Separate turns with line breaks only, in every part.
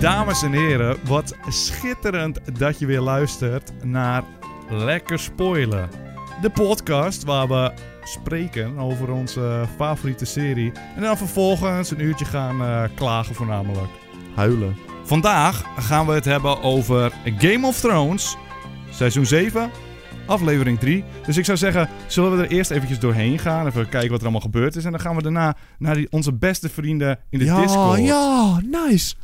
Dames en heren, wat schitterend dat je weer luistert naar Lekker Spoilen. De podcast waar we spreken over onze favoriete serie. En dan vervolgens een uurtje gaan eh, klagen voornamelijk.
Huilen.
Vandaag gaan we het hebben over Game of Thrones, seizoen 7, aflevering 3. Dus ik zou zeggen, zullen we er eerst eventjes doorheen gaan, even kijken wat er allemaal gebeurd is. En dan gaan we daarna naar die, onze beste vrienden in de
ja,
Discord.
ja, nice.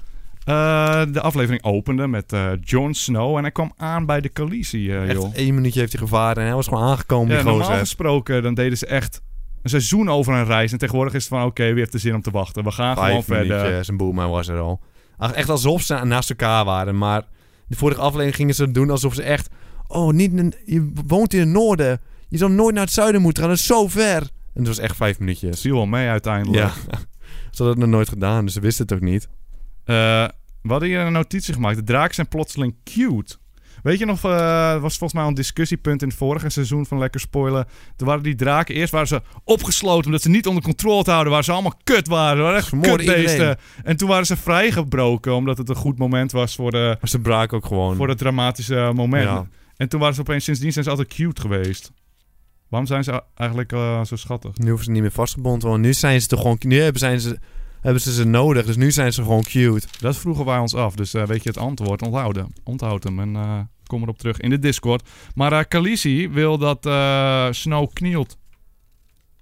Eh, de aflevering opende met eh Jon Snow en hij kwam aan bij de Khaleesi, eh, joh.
Echt één minuutje heeft hij gevaren en hij was gewoon aangekomen,
Ja,
die
normaal
gozer.
gesproken dan deden ze echt een seizoen over een reis. En tegenwoordig is het van, oké, wie heeft er zin om te wachten? We gaan gewoon
Vijf
verder.
minuutjes en boem, hij was er al. Ach, Echt alsof ze naast elkaar waren, maar de vorige aflevering gingen ze doen alsof ze echt... Oh, niet, in- je woont in het noorden. Je zou nooit naar het zuiden moeten gaan, dat is zo ver. En het was echt vijf minuutjes.
Viel wel mee uiteindelijk.
Ja, ze hadden het nog nooit gedaan, dus ze wisten het ook niet.
Eh, we hadden hier een notitie gemaakt. De draken zijn plotseling cute. Weet je nog, eh, het was volgens mij al een discussiepunt in het vorige seizoen van Lekker Spoilen. Toen waren die draken, eerst waren ze opgesloten omdat ze niet onder controle te houden waren. Ze allemaal kut waren, ze waren echt
Ze vermoorden
kutbeesten.
iedereen.
En toen waren ze vrijgebroken omdat het een goed moment was voor, de,
Maar ze braken ook gewoon.
voor het dramatische moment.
Ja.
En toen waren ze opeens, sindsdien zijn ze altijd cute geweest. Waarom zijn ze eigenlijk eh, zo schattig?
Nu hoeven ze niet meer vastgebonden te worden. Nu zijn ze toch gewoon... Nu hebben, zijn ze, hebben ze ze nodig, dus nu zijn ze gewoon cute.
Dat vroegen wij ons af. Dus eh, weet je het antwoord? Onthouden. Onthoud hem en eh, kom erop terug in de Discord. Maar eh Khaleesi wil dat eh, Snow knielt.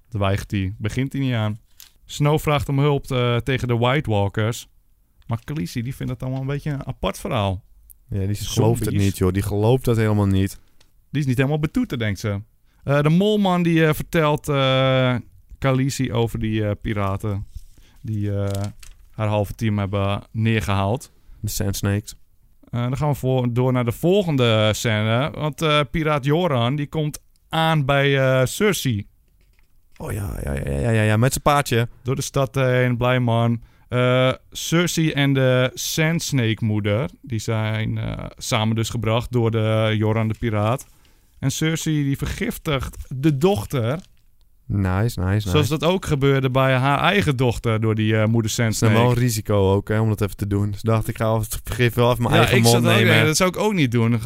Dweigt hij. Begint hij niet aan. Snow vraagt om hulp eh, tegen de White Walkers. Maar Khaleesi die vindt dat allemaal een beetje een apart verhaal.
Ja, die gelooft het
Zombies.
niet, joh. Die gelooft dat helemaal niet.
Die is niet helemaal betoeten, denkt ze. Eh, de molman die eh, vertelt eh Khaleesi over die eh, piraten. Die eh, haar halve team hebben neergehaald.
De Sand Snakes.
Eh, dan gaan we voor, door naar de volgende scène. Want eh, piraat Joran die komt aan bij eh Cersei.
Oh ja, ja, ja, ja, ja, ja, met zijn paardje.
Door de stad heen, blij man. Eh, Cersei en de Sand Snake moeder. Die zijn eh, samen dus gebracht door de Joran de piraat. En Cersei die vergiftigt de dochter.
Nice, nice, nice.
Zoals dat ook gebeurde bij haar eigen dochter door die eh, moeder Sand
het is nou wel
Snake.
een risico ook, hè, om dat even te doen. Dus ik dacht ik, ga al het vergif wel even mijn eigen
ik
mond
zat ook-
nemen.
nee, dat zou ik ook niet doen.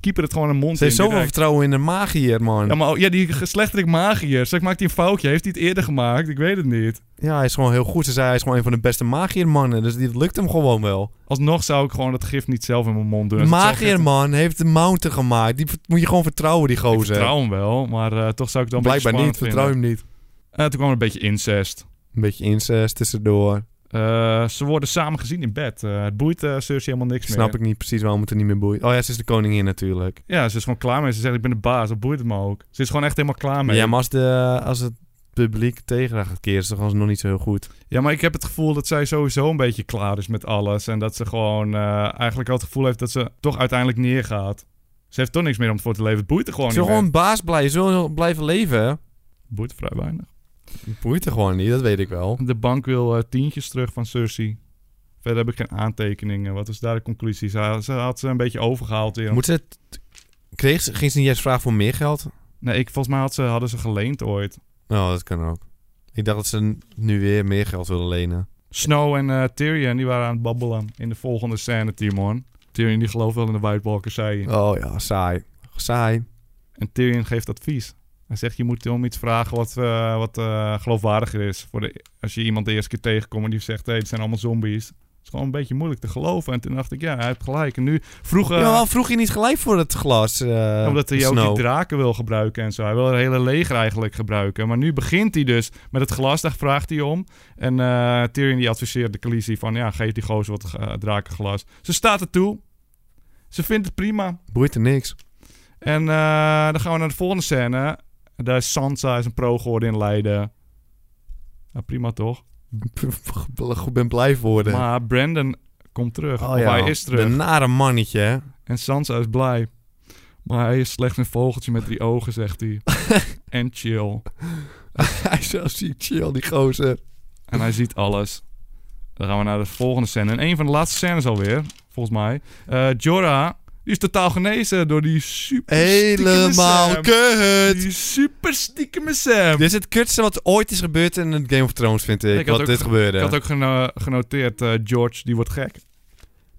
Keeper het gewoon een mond
Ze heeft
in.
zoveel
direct.
vertrouwen in de magier, man.
Ja,
Ja,
maar oh, ja, die slechterik magier. Zeg, maakt hij een foutje? Heeft hij het eerder gemaakt? Ik weet het niet.
hij is gewoon heel goed. Ze zei, hij is gewoon een van de beste magiermannen. Dus dit lukt hem gewoon wel.
Alsnog zou ik gewoon dat gif niet zelf in mijn mond doen.
De
Als het zelf gif-
magierman heeft de mountain gemaakt. Die moet je gewoon vertrouwen, die
Ik
gozer.
vertrouw hem wel, maar eh, toch zou ik dan
Blijkbaar
een
niet,
beetje spannend
vertrouw hem niet.
vinden. Eh, toen kwam er een beetje incest.
Een beetje incest tussendoor.
Eh, ze worden samen gezien in bed. Eh, het boeit eh Cersei helemaal niks meer.
Snap ik niet precies waarom het er niet meer boeit. Oh ja, ze is de koningin natuurlijk.
Ja, ze is gewoon klaar mee. Ze zegt, ik ben de baas. Dat boeit het me ook. Ze is gewoon echt helemaal klaar mee.
Ja, maar als, de, als het publiek tegen haar gaat keren, is het gewoon nog niet zo heel goed.
Ja, maar ik heb het gevoel dat zij sowieso een beetje klaar is met alles. En dat ze gewoon eh, eigenlijk al het gevoel heeft dat ze toch uiteindelijk neergaat. Ze heeft toch niks meer om voor te leven. Het boeit er gewoon
Ze
niet
wil
meer.
gewoon baas blijven, ze wil blijven leven.
Boeit vrij weinig.
Boeit er gewoon niet, dat weet ik wel.
De bank wil eh, tientjes terug van Cersei. Verder heb ik geen aantekeningen. Wat is daar de conclusie? Ze, ha- ze had ze een beetje overgehaald weer.
Moet ze het... Kreeg ze, ging ze niet eens vragen voor meer geld?
Nee, ik, volgens mij had ze, hadden ze geleend ooit.
Nou, dat kan ook. Ik dacht dat ze nu weer meer geld wilden lenen.
Snow en eh, Tyrion die waren aan het babbelen in de volgende scène, Timon. Tyrion die gelooft wel in de White Walkers, zei je.
Oh ja, saai. Saai.
En Tyrion geeft advies. Hij zegt, je moet om iets vragen wat, eh, wat eh, geloofwaardiger is. Voor de, als je iemand de eerste keer tegenkomt en die zegt, hé, hey, dit zijn allemaal zombies. Het is gewoon een beetje moeilijk te geloven. En toen dacht ik, ja, hij heeft gelijk. En nu, vroeger...
ja, waarom vroeg je niet gelijk voor het glas, eh,
eh, Ja, Omdat hij ook
Snow?
die draken wil gebruiken en zo. Hij wil een hele leger eigenlijk gebruiken. Maar nu begint hij dus met het glas. Daar vraagt hij om. En eh Tyrion die adviseert de Khaleesi van... Ja, geef die gozer wat eh, drakenglas. Ze staat er toe. Ze vindt het prima.
Boeit er niks.
En eh, dan gaan we naar de volgende scène. Daar is Sansa is een pro geworden in Leiden. Ja, prima toch?
Ik ben blij voor de...
Maar Ah, Brandon komt terug.
Oh
of
ja,
hij is terug.
De nare mannetje, hè.
En Sansa is blij. Maar hij is slechts een vogeltje met drie ogen, zegt hij. en chill.
hij is zo ziek chill, die gozer.
En hij ziet alles. Dan gaan we naar de volgende scène. En een van de laatste scènes alweer, volgens mij. Eh Jorah, die is totaal genezen door die super
Helemaal
stiekeme Sam.
kut.
Die super stiekeme Sam.
Dit is het kutste wat ooit is gebeurd in het Game of Thrones, vind
Ik
ik.
had
wat
ook
dit
ge-
gebeurde.
Ik had ook geno- genoteerd, eh, George, die wordt gek.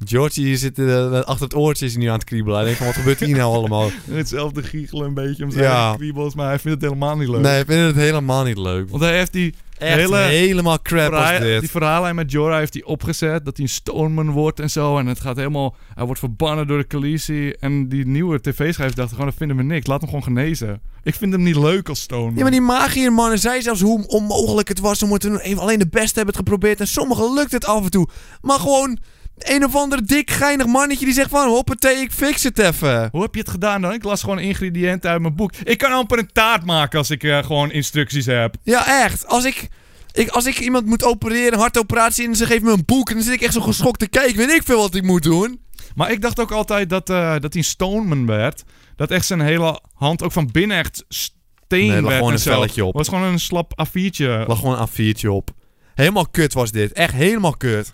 Georgie hier zit eh, achter het oortje is hij nu aan het kriebelen. Hij denkt van, wat gebeurt hier nou allemaal?
Hetzelfde giechelen een beetje om
zijn Ja.
kriebels, maar hij vindt het helemaal niet leuk.
Nee, ik vind het helemaal niet leuk.
Want hij heeft die,
Echt
Hele-
helemaal crap als
verhaal, die
dit.
verhaallijn met Jorah heeft hij opgezet. Dat hij een stoneman wordt en zo. En het gaat helemaal... Hij wordt verbannen door de Khaleesi. En die nieuwe tv-schrijver dacht gewoon, dat vinden we niks. Laat hem gewoon genezen. Ik vind hem niet leuk als stoneman.
Ja, maar die magier mannen zei zelfs hoe onmogelijk het was om het te doen. Even Alleen de beste hebben het geprobeerd en sommigen lukt het af en toe. Maar gewoon een of ander dik geinig mannetje die zegt van... Hoppatee, ik fix het even.
Hoe heb je het gedaan dan? Ik las gewoon ingrediënten uit mijn boek. Ik kan amper een taart maken als ik eh, gewoon instructies heb.
Ja, echt. Als ik, ik, als ik iemand moet opereren, een hartoperatie, en ze geeft me een boek... en dan zit ik echt zo geschokt te kijken. Weet ik veel wat ik moet doen.
Maar ik dacht ook altijd dat, eh, dat hij een stoneman werd. Dat echt zijn hele hand ook van binnen echt steen
Nee, er lag
werd
gewoon
en
een
zo.
velletje op.
was gewoon een slap A4'tje.
lag gewoon een A4'tje op. Helemaal kut was dit. Echt helemaal kut.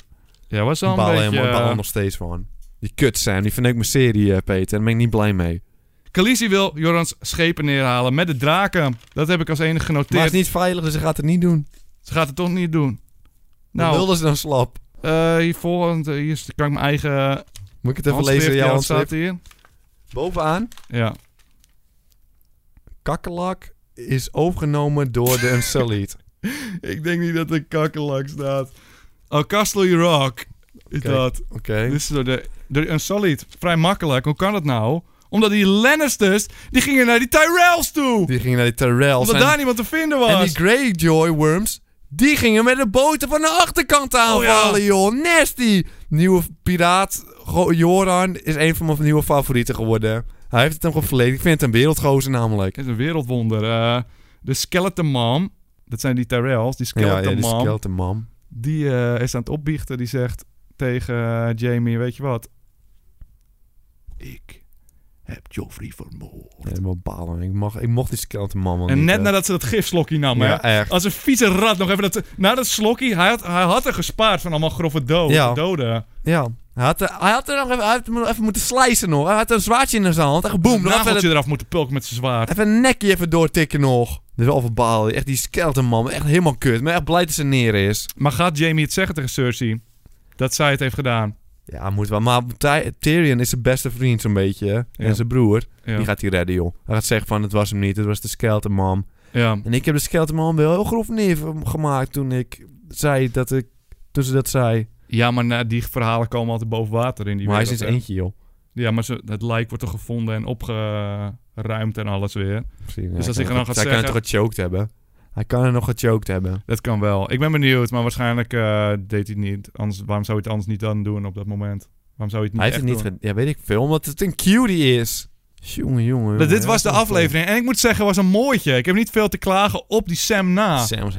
Ja, was al
Ik
een
baal
beetje...
helemaal- ik baal er
eh,
nog steeds van. Die kut Sam, die verneukt mijn serie, eh, Peter. Daar ben ik niet blij mee.
Khaleesi wil Jorans schepen neerhalen met de draken. Dat heb ik als enige
Maar
genoteerd.
het is niet veilig, dus hij gaat het niet doen.
Ze gaat het toch niet doen.
Nou.
Nou,
wilden ze dan slap?
eh hier volgend... eh, Hier is- kan ik mijn eigen
Moet ik het even
handschrift...
lezen?
ja,
Jouw
wat staat
handschrift.
hier?
Bovenaan.
Ja.
Kakkelak is overgenomen door de Unsullied.
Ik denk niet dat er kakkelak staat. Oh, Castle Rock is
Oké.
dat.
Oké.
Dit is door de, door de Unsullied. Vrij makkelijk. Hoe kan dat nou? Omdat die Lannisters, die gingen naar die Tyrells toe.
Die gingen naar die Terrells.
omdat
En,
daar niemand te vinden was.
en die Greyjoy worms, die gingen met de boten van de achterkant aanvallen,
Oh, ja.
joh. Nasty. Nieuwe piraat, Go- Joran, is een van mijn nieuwe favorieten geworden. Hij heeft het hem gevleed. Ik vind het een wereldgozer namelijk.
is een wereldwonder. Eh, de Skeleton Mom. Dat zijn die Tyrells. Die Skeleton
ja, ja, die
Mom.
skeleton mam.
die eh, is aan het opbiechten. Die zegt tegen eh, Jamie, weet je wat? Ik heb Joffrey vermoord.
Helemaal balen. Ik, mag, ik mocht die skeleton mam wel
En
niet,
net
hè.
nadat ze dat gifslokje nam, hè?
Ja, echt.
Als een vieze rat nog even dat... Na dat slokkie, hij had, hij had er gespaard van allemaal grove dood,
Ja.
doden.
Ja. Hij had, er- hij had er nog even, hij had hem nog even moeten slicen nog. Hij had een zwaardje in zijn hand. Echt boem.
Een
nog Even,
nageltje eraf moeten pulken met zijn zwaard.
dat- even een nekje even doortikken nog. Dus wel verbalen. Echt die skeleton man. Echt helemaal kut. Maar echt blij dat ze neer is.
Maar gaat Jamie het zeggen tegen Cersei? Dat zij het heeft gedaan.
Ja, moet wel. Maar Ty- Tyrion is zijn beste vriend zo'n beetje. hè.
Ja.
En zijn broer.
Ja.
Die gaat hij redden, joh. Hij gaat zeggen van het was hem niet. Het was de skeleton man.
ja.
En ik heb de skeleton man wel heel grof neergemaakt toen ik zei dat ik... Toen ze dat zei.
ja, maar na, die verhalen komen altijd boven water in die
maar hij is in
wereld,
zijn
hè.
eentje, joh.
Ja, maar ze, het lijk wordt toch gevonden en opgeruimd en alles weer.
Misschien,
Dus
ja,
als
hij
ik er
kan-
dan gaat
Hij kan
zeggen-
het toch gechoked hebben? Hij kan er nog gechoked hebben.
Dat kan wel. Ik ben benieuwd, maar waarschijnlijk eh, deed hij het niet. Anders, waarom zou hij het anders niet dan doen op dat moment? Waarom zou hij het niet
hij heeft het
echt
niet
doen?
gedaan. Ja, weet ik veel. Omdat het een cutie is. Jongen, jongen.
Nou, dit
jongen,
was de
dat een
aflevering. En ik moet zeggen, was een mooitje. Ik heb niet veel te klagen op die Sam na.
film. Sam was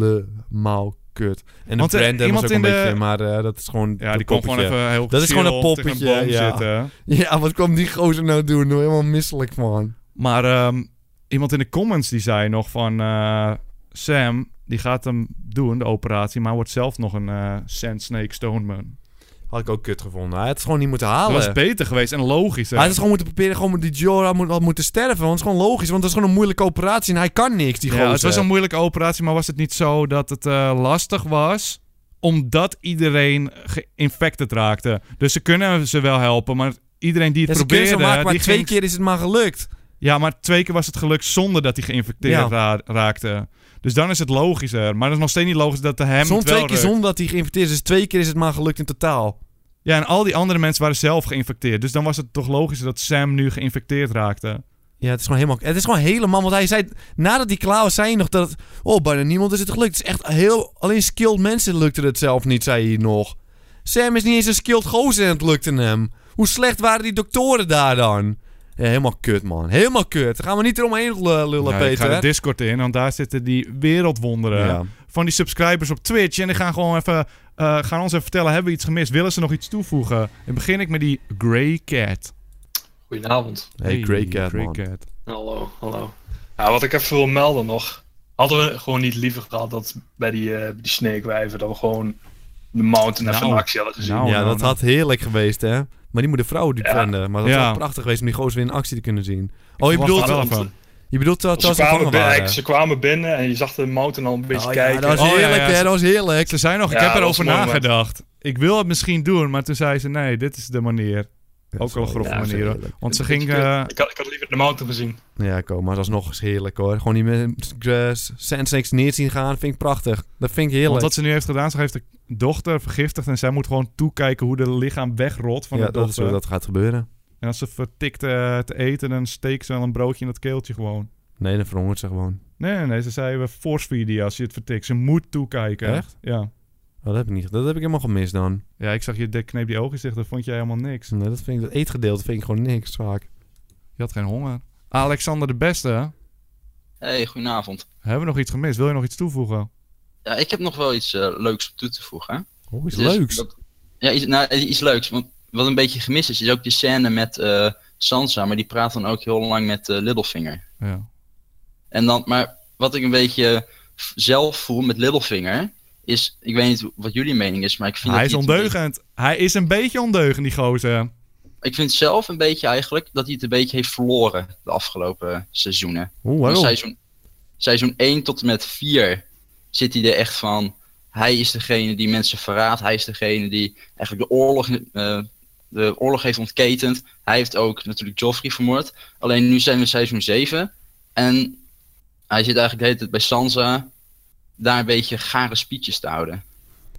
helemaal kut. En de
Want, eh,
Brandon was
iemand
ook een
in de-
beetje... Maar eh, dat is gewoon...
Ja,
een
die kwam gewoon
poppetje.
even heel
Dat is
chill
gewoon een
tegen
poppetje,
boom
ja.
zitten.
Ja, wat kwam die gozer nou doen? hoor? Helemaal misselijk, man.
Maar ehm, iemand in de comments die zei nog van... eh, Sam, die gaat hem doen, de operatie. Maar wordt zelf nog een eh, Sand Snake Stoneman.
Had ik ook kut gevonden. Hij had het gewoon niet moeten
Dat
halen.
was beter geweest en logischer.
Hij had het gewoon moeten proberen. Gewoon die Jorah moet, had moeten sterven. Want het is gewoon logisch. Want het is gewoon een moeilijke operatie. En hij kan niks, die gozer.
Ja, het was een moeilijke operatie, maar was het niet zo dat het eh, lastig was? Omdat iedereen geïnfected raakte. Dus ze kunnen ze wel helpen, maar iedereen die
Ja,
het
ze kunnen
probeerde...
ze maken, maar
die
twee
ging-
keer is het maar gelukt.
Ja, maar twee keer was het gelukt zonder dat hij geïnfecteerd
Ja.
ra- raakte. Dus dan is het logischer. Maar dat is nog steeds niet logisch dat de hem
Soms
het wel
twee keer
lukt.
zonder dat hij geïnfecteerd is. Dus twee keer is het maar gelukt in totaal.
Ja, en al die andere mensen waren zelf geïnfecteerd. Dus dan was het toch logischer dat Sam nu geïnfecteerd raakte.
Ja, het is gewoon helemaal... Het is gewoon helemaal... Want hij zei... Nadat die klaar was, zei hij nog dat... het- Oh, bijna niemand is het gelukt. Het is echt heel... Alleen skilled mensen lukte het zelf niet, zei hij nog. Sam is niet eens een skilled gozer en het lukte hem. Hoe slecht waren die doktoren daar dan? Ja, helemaal kut, man. Helemaal kut. Daar gaan we niet eromheen l- lullen,
Nou, ik ga
Peter.
de Discord in, want daar zitten die wereldwonderen.
ja.
Eh, van die subscribers op Twitch. En die gaan gewoon even. eh, gaan ons even vertellen: hebben we iets gemist? Willen ze nog iets toevoegen? En begin ik met die Grey Cat.
Goedenavond.
Hey, Grey Cat,
Grey
man.
Cat.
Hallo, hallo. Ja, wat ik even wil melden nog. Hadden we gewoon niet liever gehad dat bij die, eh die sneekwijven, dat we gewoon de mountain even
Nou,
een actie hadden gezien.
nou.
ja, dat had heerlijk geweest, hè. Maar die moet de vrouw die
Ja.
vinden. Maar dat
Ja.
was wel prachtig geweest om die gozer weer in actie te kunnen zien. Oh, je
Ik
bedoelt...
wacht wel
want-
even.
Je bedoelt dat
ze,
als ze
kwamen
gevangen
binnen,
waren?
ze kwamen binnen en je zag de mountain al een beetje
Oh, ja,
kijken.
dat was
Oh, ja,
heerlijk,
ja.
hè. Dat was heerlijk.
Ze zijn nog, ik
Ja,
heb
dat
erover
was mooi, man.
nagedacht. ik wil het misschien doen, maar toen zei ze, nee, dit is de manier.
Ja,
Ook wel een grove
ja,
manier, hoor.
heerlijk.
Want ze
Ik- ik-
ging... eh,
ik, had, ik had liever de mountain gezien.
Ja, ik ook, maar dat is nog eens heerlijk hoor. Gewoon die met eh, Sandsex neer zien gaan, vind ik prachtig. Dat vind ik
want
heerlijk.
wat ze nu heeft gedaan, ze heeft de dochter vergiftigd... en zij moet gewoon toekijken hoe de lichaam wegrot van
ja,
de
dat is
dochter.
hoe dat gaat gebeuren.
En als ze vertikt eh, te eten, dan steekt ze wel een broodje in dat keeltje gewoon.
Nee, dan verhongert ze gewoon.
Nee, nee, nee. Ze zei, we force feeden je als je het vertikt. Ze moet toekijken.
Echt?
Ja.
Oh, dat heb ik niet. Dat heb ik helemaal gemist dan.
Ja, ik zag je dik kneep die ogen dicht. Dat vond jij helemaal niks.
Nee, dat vind ik, dat eetgedeelte vind ik gewoon niks vaak.
Je had geen honger. Alexander de Beste, hè?
Hey, goedenavond.
hebben we nog iets gemist? Wil je nog iets toevoegen?
Ja, ik heb nog wel iets eh, leuks op toe te voegen. Hè?
Oh, iets
Het is
leuks.
dat- ja, iets, nou, iets leuks. Want wat een beetje gemist is, is ook die scène met eh, Sansa. Maar die praat dan ook heel lang met eh, Littlefinger.
Ja.
En dan, maar wat ik een beetje f- zelf voel met Littlefinger... is, ik weet niet wat jullie mening is, maar ik vind...
Hij
dat
is
het een beetje-
ondeugend. Hij is een beetje ondeugend, die gozer.
ik vind zelf een beetje eigenlijk dat hij het een beetje heeft verloren de afgelopen seizoenen.
Oeh,
Van
waarom?
Seizoen, seizoen 1 tot en met 4 zit hij er echt van. Hij is degene die mensen verraadt. Hij is degene die eigenlijk de oorlog, eh, de oorlog heeft ontketend. Hij heeft ook natuurlijk Joffrey vermoord. Alleen nu zijn we seizoen 7. En hij zit eigenlijk de hele tijd bij Sansa. Daar een beetje gare speeches te houden.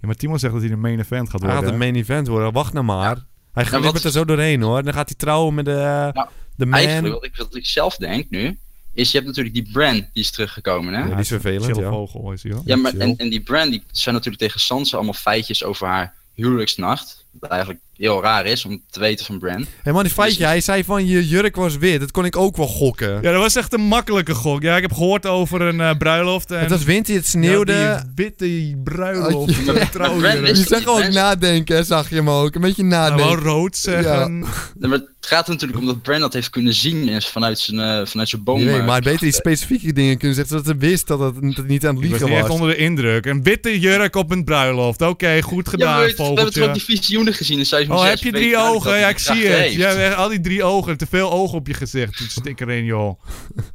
Ja, maar Timo zegt dat hij de main event gaat
Hij
worden.
gaat het main event worden. Wacht nou maar. Hij gaat
wat-
het er zo doorheen hoor. Dan gaat hij trouwen met de, eh, de man.
Eigenlijk, wat ik, wat ik zelf denk nu, is je hebt natuurlijk die Bran die is teruggekomen. Hè?
Ja, die is vervelend,
Chille
ja.
vogel is hij, hoor.
Ja, maar
Chill.
en, en die Brand die zijn natuurlijk tegen Sansa allemaal feitjes over haar huwelijksnacht. Wat eigenlijk heel raar is om te weten van Brand.
Hé man, die feitje,
Dus-
hij zei van je jurk was wit. Dat kon ik ook wel gokken.
Ja, dat was echt een makkelijke gok. Ja, ik heb gehoord over een eh, bruiloft. En
Het was winter, het sneeuwde.
Ja, die witte bruiloft.
Oh,
de trouwjurk.
Brandon-
je zag
die
ook
best-
nadenken, hè, zag je hem ook. Een beetje
Nou, wel
nadenken.
rood zeggen.
Nee, Maar het gaat er natuurlijk om dat Brand dat heeft kunnen zien is vanuit zijn, eh, vanuit zijn boom.
Nee,
eh,
maar het beter die specifieke dingen kunnen zeggen, zodat hij wist dat het, dat het niet aan het
Ik was
liegen
niet echt
was.
onder de indruk. Een witte jurk op een bruiloft. Oké, goed
ja, maar
gedaan,
we, we hebben toch ook die
vogeltje.
eh, visioenen gezien in seizoen
Oh,
6.
heb je
Weet
drie
duidelijk
ogen?
dat
Ja,
hij
ik
die
zie
kracht
het.
heeft.
Ja, echt al die drie ogen. Te veel ogen op je gezicht. Doe het Stik erin, joh.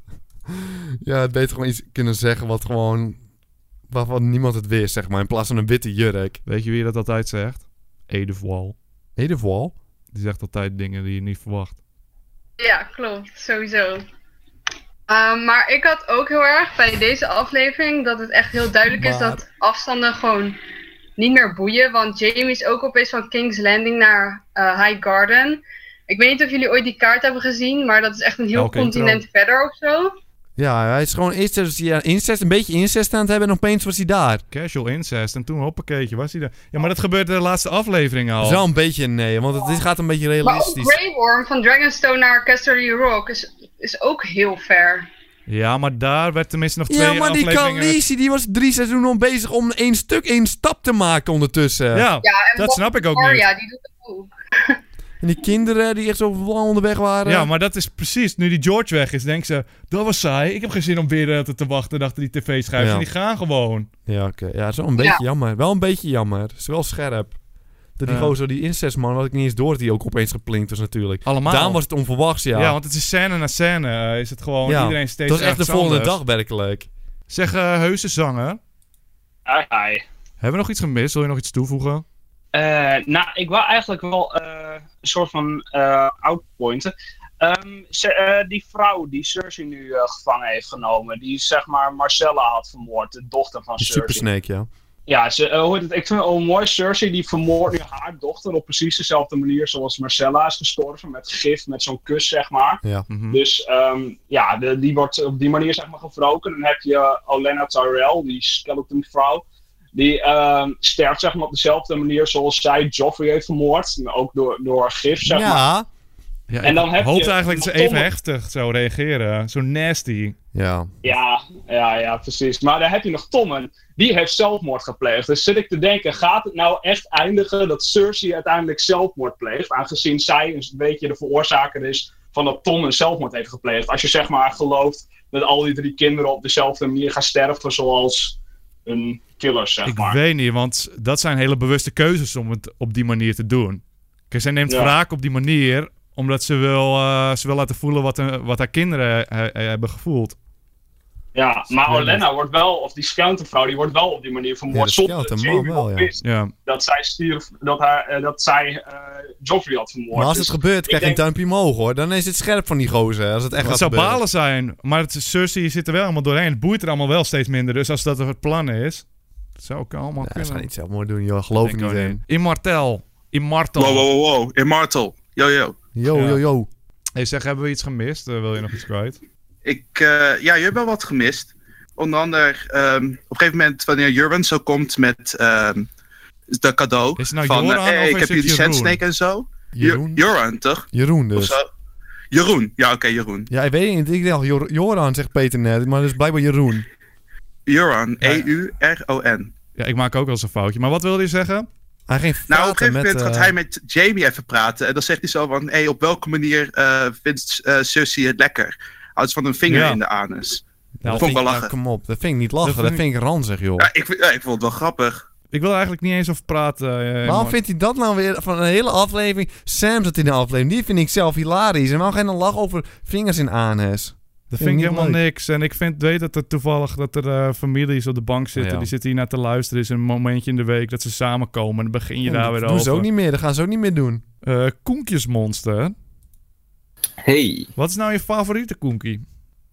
Ja, het beter gewoon iets kunnen zeggen wat gewoon... Waarvan niemand het wist, zeg maar. In plaats van een witte jurk.
Weet je wie dat altijd zegt? Edith Wall.
Edith Wall?
Die zegt altijd dingen die je niet verwacht.
Ja, klopt. Sowieso. Ehm, maar ik had ook heel erg bij deze aflevering dat het echt heel duidelijk is
Maar-
dat afstanden gewoon niet meer boeien. Want Jamie is ook opeens van King's Landing naar eh, High Garden. Ik weet niet of jullie ooit die kaart hebben gezien, maar dat is echt een heel
Elke intro.
continent verder of zo.
Ja, hij is gewoon eerst was hij aan incest, een beetje incest aan het hebben en opeens was hij daar.
Casual incest. En toen, hoppakeetje, was hij er. Ja, maar dat gebeurde de laatste aflevering
Dat is
al.
wel een beetje een nee, want het
Oh.
is- gaat een beetje
Maar ook
realistisch.
Grey Worm van Dragonstone naar Casterly Rock is, is ook heel ver.
Ja, maar daar werd tenminste nog twee
Ja, maar die
afleveringen...
Khaleesi, die was drie seizoenen al bezig om één stuk, één stap te maken ondertussen.
Ja,
Ja, en
dat snap ik ook niet.
Arya, die doet het ook.
En die kinderen die echt zo lang onderweg waren.
Ja, maar dat is precies. Nu die George weg is, denken ze... Dat was saai. Ik heb geen zin om weer eh, te, te wachten achter die tv-schijf.
Ja.
En die gaan gewoon.
Ja, oké. Ja, zo een beetje jammer. Wel een beetje jammer. Het is wel scherp. Dat die
Ja.
gozer, die incestman, wat ik niet eens door dat die ook opeens geplinkt was natuurlijk.
Allemaal.
Daarom was het onverwachts, ja.
Ja. want het is scène na scène. eh, is het gewoon
Ja,
iedereen steeds
dat was echt de
ergens
volgende
anders.
dag werkelijk.
Zeg, eh heuse zanger.
Hi, hi.
Hebben we nog iets gemist? Wil je nog iets toevoegen?
Eh, nou, ik wou eigenlijk wel eh, een soort van eh outpointen. Ehm, ze- eh, die vrouw die Cersei nu eh, gevangen heeft genomen, die zeg maar Marcella had vermoord, de dochter van
De
Cersei.
supersnake, ja.
Ja, ze, eh, hoe heet het? ik vind het al mooi, Cersei die vermoordt nu haar dochter op precies dezelfde manier zoals Marcella is gestorven, met gif, met zo'n kus zeg maar.
Mhm.
Dus ehm, ja, de- die wordt op die manier zeg maar gewroken. Dan heb je Olenna Tyrell, die skeleton vrouw. Die ehm, sterft zeg maar op dezelfde manier zoals zij Joffrey heeft vermoord. maar Ook door, door gif zeg maar.
Ja.
Ja,
En dan
ik
heb
hoopte
je-
eigenlijk dat ze even heftig zou reageren. Zo nasty.
Ja.
Ja, ja, ja, precies. Maar dan heb je nog Tommen. Die heeft zelfmoord gepleegd. Dus zit ik te denken, gaat het nou echt eindigen dat Cersei uiteindelijk zelfmoord pleegt? Aangezien zij een beetje de veroorzaker is van dat Tommen zelfmoord heeft gepleegd. Als je zeg maar gelooft dat al die drie kinderen op dezelfde manier gaan sterven zoals een killer, zeg
Ik
maar.
weet niet, want dat zijn hele bewuste keuzes om het op die manier te doen. Kijk, zij neemt
Ja.
wraak op die manier eh, omdat ze wil, eh, ze wil laten voelen wat, eh, wat haar kinderen eh, eh, hebben gevoeld.
Ja, maar
Ja,
Olenna wordt wel, of die skeltenvrouw, die wordt wel op die manier
Ja,
vermoord.
de
zonder dat
skeleton man
Jamie
wel,
nog
ja.
wist
Ja,
dat zij, stierf, dat haar, eh, dat zij eh Joffrey had vermoord.
Maar als het
Dus
gebeurt, krijg je een
denk-
duimpje omhoog hoor. Dan is het scherp van die gozer. Als het echt
het
gaat
zou
gebeuren.
balen zijn, maar het, Cersei zit er wel allemaal doorheen. Het boeit er allemaal wel steeds minder. Dus als dat het plan is, dat zou ik allemaal
Ja, ze gaan
kunnen.
niet zelfmoord doen, joh. Geloof ik
Denk
niet
ook
in.
Immortel. Immortel.
Wow, wow, wow, wow. Immortal. Yo, yo.
Yo,
Ja.
yo, yo.
Hey, zeg, hebben we iets gemist? Eh, wil je nog iets kwijt?
Ik, eh, ja, je hebt wel wat gemist. Onder andere, ehm, op een gegeven moment wanneer Jurwen zo komt met ehm de cadeau.
Is het nou
van, eh,
Joran
hey,
of
ik
is
heb
het
jullie
Jeroen?
Sandsnake en zo.
Jeroen.
Joran, toch?
Jeroen dus.
Of zo? Jeroen. Ja, oké, Jeroen.
Ja, ik weet niet. Ik dacht Jor- Joran, zegt Peter net. Maar dat is blijkbaar
Nou,
Jeroen.
Joran.
Ja.
E-U-R-O-N.
Ja, ik maak ook wel eens een foutje. Maar wat wilde je zeggen?
Hij ging
Nou, op een
praten
gegeven
met...
moment gaat
eh,
hij met Jamie even praten. En dan zegt hij zo van, hey, op welke manier eh, vindt eh Cersei het lekker? Houdt ze van een vinger
Ja.
in de anus.
dat
vond
vind
ik wel
nou,
lachen.
kom op, dat vind ik niet lachen.
Dat
Dat
vind
vind ik, ranzig, joh.
Ja, ik, vind- ja, ik vond het wel grappig.
Ik wil er eigenlijk niet eens over praten. eh,
Waarom
Immortel.
vindt hij dat nou weer van een hele aflevering? Sam zat in de aflevering. Die vind ik zelf hilarisch. En waarom ga je dan lachen over vingers in anus?
Dat vind ik
niet
helemaal
leuk.
niks. En ik vind, weet dat er toevallig dat er eh, families op de bank zitten.
Ja.
Die zitten hier naar te luisteren. is een momentje in de week dat ze samenkomen. En dan begin je
Ja,
daar
Oh, dat
weer
doen
over.
ze ook niet meer. Dat gaan ze ook niet meer doen.
Eh, koenkjesmonster.
Hey,
Wat is nou je favoriete koenkie?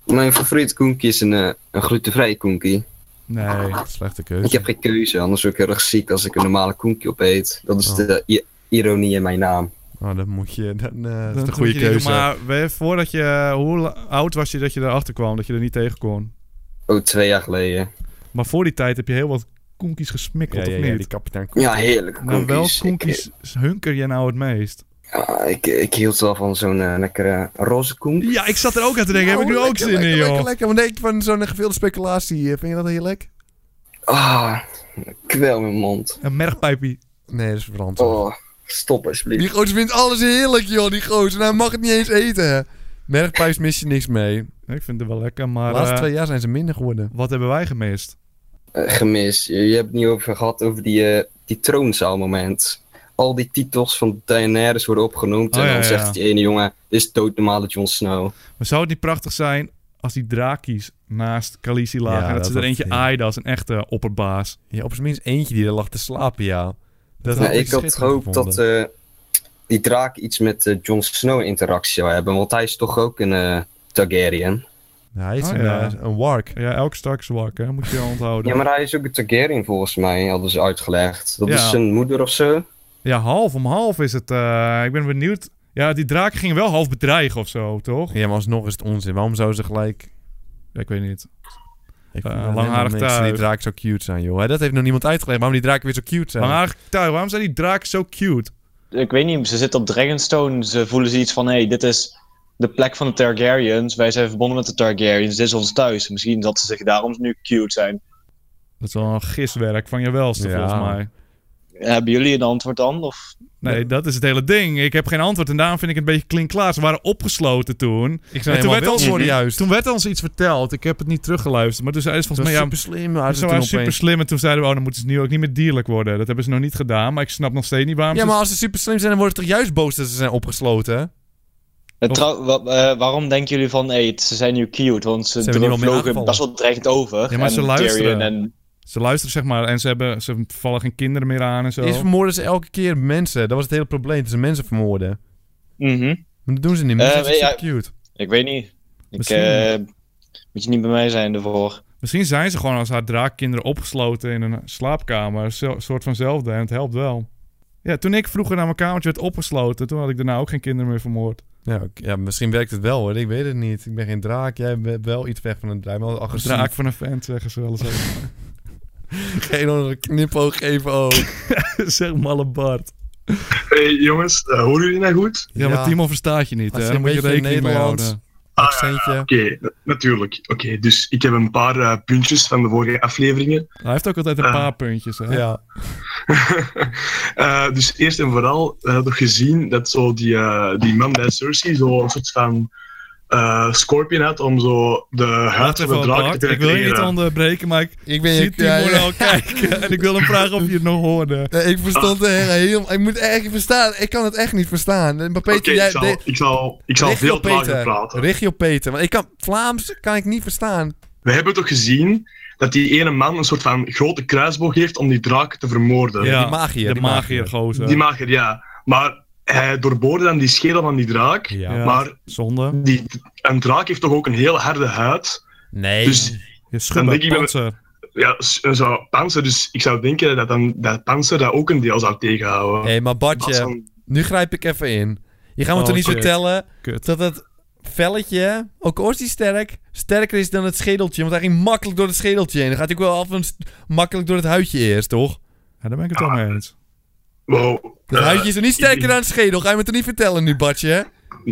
mijn favoriete koenkie is een, eh, een glutenvrije koenkie.
Nee.
Slechte
Ik
keuze.
heb geen keuze, anders word ik heel erg ziek als ik een normale koenkie opeet. Dat is
Oh.
de i- ironie in mijn naam.
Oh, dat moet je. Dan, eh, dat is
Dan
de goede
moet je die-
keuze.
Maar weet je, voordat je... Hoe la- oud was je dat je erachter kwam? Dat je er niet tegen kon?
Oh, twee jaar geleden.
Maar voor die tijd heb je heel wat koenkies
Ja,
gesmikkeld,
ja,
of
ja,
niet?
die kapitein Koek.
Ja, heerlijke
Nou, wel
koenkies. Ik, eh,
koenkies hunker je nou het meest?
ja, ik, ik hield wel van zo'n eh, lekkere roze Nou, koenkie.
Ja, ik zat er ook aan te denken. heb ik nu
Oh,
ook
lekker,
zin
lekker,
in, joh?
Lekker, lekker. Wat denk je van zo'n geveelde speculatie? eh, Vind je dat heerlijk?
Ah, kwel mijn mond.
Een mergpijpie.
Nee, dat is verantwoord.
Oh, stop alsjeblieft.
Die gozer vindt alles heerlijk, joh. Die gozer. Nou, hij mag het niet eens eten. Merkpijs mis je niks mee.
Ik vind het wel lekker,
De
maar...
laatste
eh,
twee jaar zijn ze minder geworden.
Wat hebben wij gemist?
Eh, gemis. Je, je hebt het niet over gehad over die, eh, die troonzaalmoment. Al die titels van Daenerys worden opgenoemd
Oh,
en
ja,
dan
ja, ja.
zegt die ene jongen, dit is doodnormale Jon Snow.
Maar zou het niet prachtig zijn als die draakies naast Khaleesi lagen
Ja,
en dat,
dat
ze er
was-
eentje
ja.
aaide als een echte opperbaas?
Ja, op zijn minst eentje die er lag te slapen, ja. Dat
Nou, ik had gehoopt dat eh, die draak iets met eh, Jon Snow interactie zou hebben, want hij is toch ook een eh, Targaryen.
hij is
Oh,
een,
ja.
eh, een wark.
Ja, elk straks wakker, hè? moet je onthouden.
Ja, maar hij is ook een Targaryen volgens mij, hadden ze uitgelegd. Dat
Ja.
is zijn moeder of zo.
Ja, half om half is het. eh, ik ben benieuwd. Ja, die draak ging wel half bedreigen of zo, toch?
Ja, maar alsnog is het onzin. Waarom zou ze gelijk...
Ja, ik weet niet.
Ik
Eh,
vind alleen
langharig
maar mensen
tuig.
Die draak zo cute zijn, joh. Hè, Dat heeft nog niemand uitgelegd. Waarom die draken weer zo cute zijn.
Maar eigenlijk, tuig, waarom zijn die draken zo cute?
ik weet niet, ze zitten op Dragonstone. Ze voelen zoiets van: hé, hey, dit is de plek van de Targaryens. Wij zijn verbonden met de Targaryens. Dit is ons thuis. Misschien dat ze zich daarom nu cute zijn.
Dat is wel een giswerk van je welste,
Ja.
volgens mij.
Hebben jullie een antwoord dan? Of...
Nee, dat is het hele ding. Ik heb geen antwoord en daarom vind ik het een beetje klinkklaar. Ze waren opgesloten toen.
ik
En
zou
toen werd,
helemaal
ons,
wild worden, juist.
toen werd ons iets verteld. Ik heb het niet teruggeluisterd. Maar toen zei ze
Het was
volgens mij... Ja,
super slim.
maar
maar
ze
ze
waren
toen
super
opeens-
slim en toen zeiden we... Oh, dan moeten ze nu ook niet meer dierlijk worden. Dat hebben ze nog niet gedaan. Maar ik snap nog steeds niet waarom
Ja,
ze...
maar als ze super slim zijn, dan worden ze toch juist boos dat ze zijn opgesloten, hè?
Eh,
Of-
trouw- wa- eh, waarom denken jullie van: hé, hey, ze zijn nu cute? Want ze,
Ze hebben niemand meer
vlogen
aangevallen.
best wel dreigend over.
Ja, maar
En
ze luisteren.
Tyrion En...
Ze luisteren, zeg maar. En ze, hebben, ze vallen geen kinderen meer aan en zo.
Eerst vermoorden ze elke keer mensen. Dat was het hele probleem, dat ze mensen vermoorden.
Mhm.
Maar dat doen ze niet
Eh,
meer. Ze zijn
ja.
super cute.
Ik weet niet. Ik
Misschien.
eh, moet je niet bij mij zijn ervoor.
Misschien zijn ze gewoon als haar draakkinderen opgesloten in een slaapkamer. Zo- Een soort vanzelfde. En het helpt wel. Ja, toen ik vroeger naar mijn kamertje werd opgesloten... toen had ik daarna ook geen kinderen meer vermoord.
Ja, oké. ja, misschien werkt het wel hoor. Ik weet het niet. Ik ben geen draak. Jij bent wel iets weg van een draak. Maar
Een
agressief.
draak van een vent, zeggen ze wel eens.
Geen onder knipoog geven ook.
zeg malle Bart.
Hey, jongens, eh, horen jullie mij goed?
Ja, maar
Ja.
Timo verstaat je niet.
Als
Hè?
je
Dan
een
moet je
beetje
rekening mee
Nederlands-
houden.
Accentje.
Ah, Oké, na- natuurlijk. Oké, dus ik heb een paar eh, puntjes van de vorige afleveringen.
Hij heeft ook altijd een
Ah.
paar puntjes. Hè?
Ja.
Eh, dus eerst en vooral, we hadden gezien dat zo die, eh, die man bij Cersei zo een soort van eh, scorpion had om zo de huid
Wacht
van de
even,
draak
Bart.
te
Ik wil je niet
penetreren.
onderbreken, maar ik
Ik ben
zie Timo nou kijken. En ik wil hem vragen of je het nog hoorde.
Nee, ik verstond het helemaal. Ik moet echt verstaan. Ik kan het echt niet verstaan. Maar Peter,
Oké,
jij.
ik zal,
de-
ik zal, ik zal
richt je
veel
op Peter.
trager praten.
Richt je op Peter. Want ik kan Vlaams kan ik niet verstaan.
We hebben toch gezien dat die ene man een soort van grote kruisboog heeft om die draak te vermoorden.
Ja, die magier, de die magier, magier. gozer.
Die magier, ja. Maar hij doorboorde dan die schedel van die draak.
Ja.
Maar
Zonde.
die, een draak heeft toch ook een heel harde huid.
Nee.
Dus
Je schubbe,
denk ik wel-
panzer.
ja, s- zo, panzer. Dus ik zou denken dat dan, dat panzer dat ook een deel zou tegenhouden.
Hé, maar
Dat
Bartje,
zou-
nu grijp ik even in. Je gaat me
Oh,
toch niet
kut.
vertellen
Kut.
dat het velletje, ook al is die sterk, sterker is dan het schedeltje. Want hij ging makkelijk door het schedeltje heen. Dan gaat hij ook wel af en st- makkelijk door het huidje eerst, toch?
Ja, daar ben ik het wel mee eens.
Wow.
Het
Eh,
huidje is er niet sterker
ik-
dan het schedel. Ga je me toch niet vertellen nu, Bartje?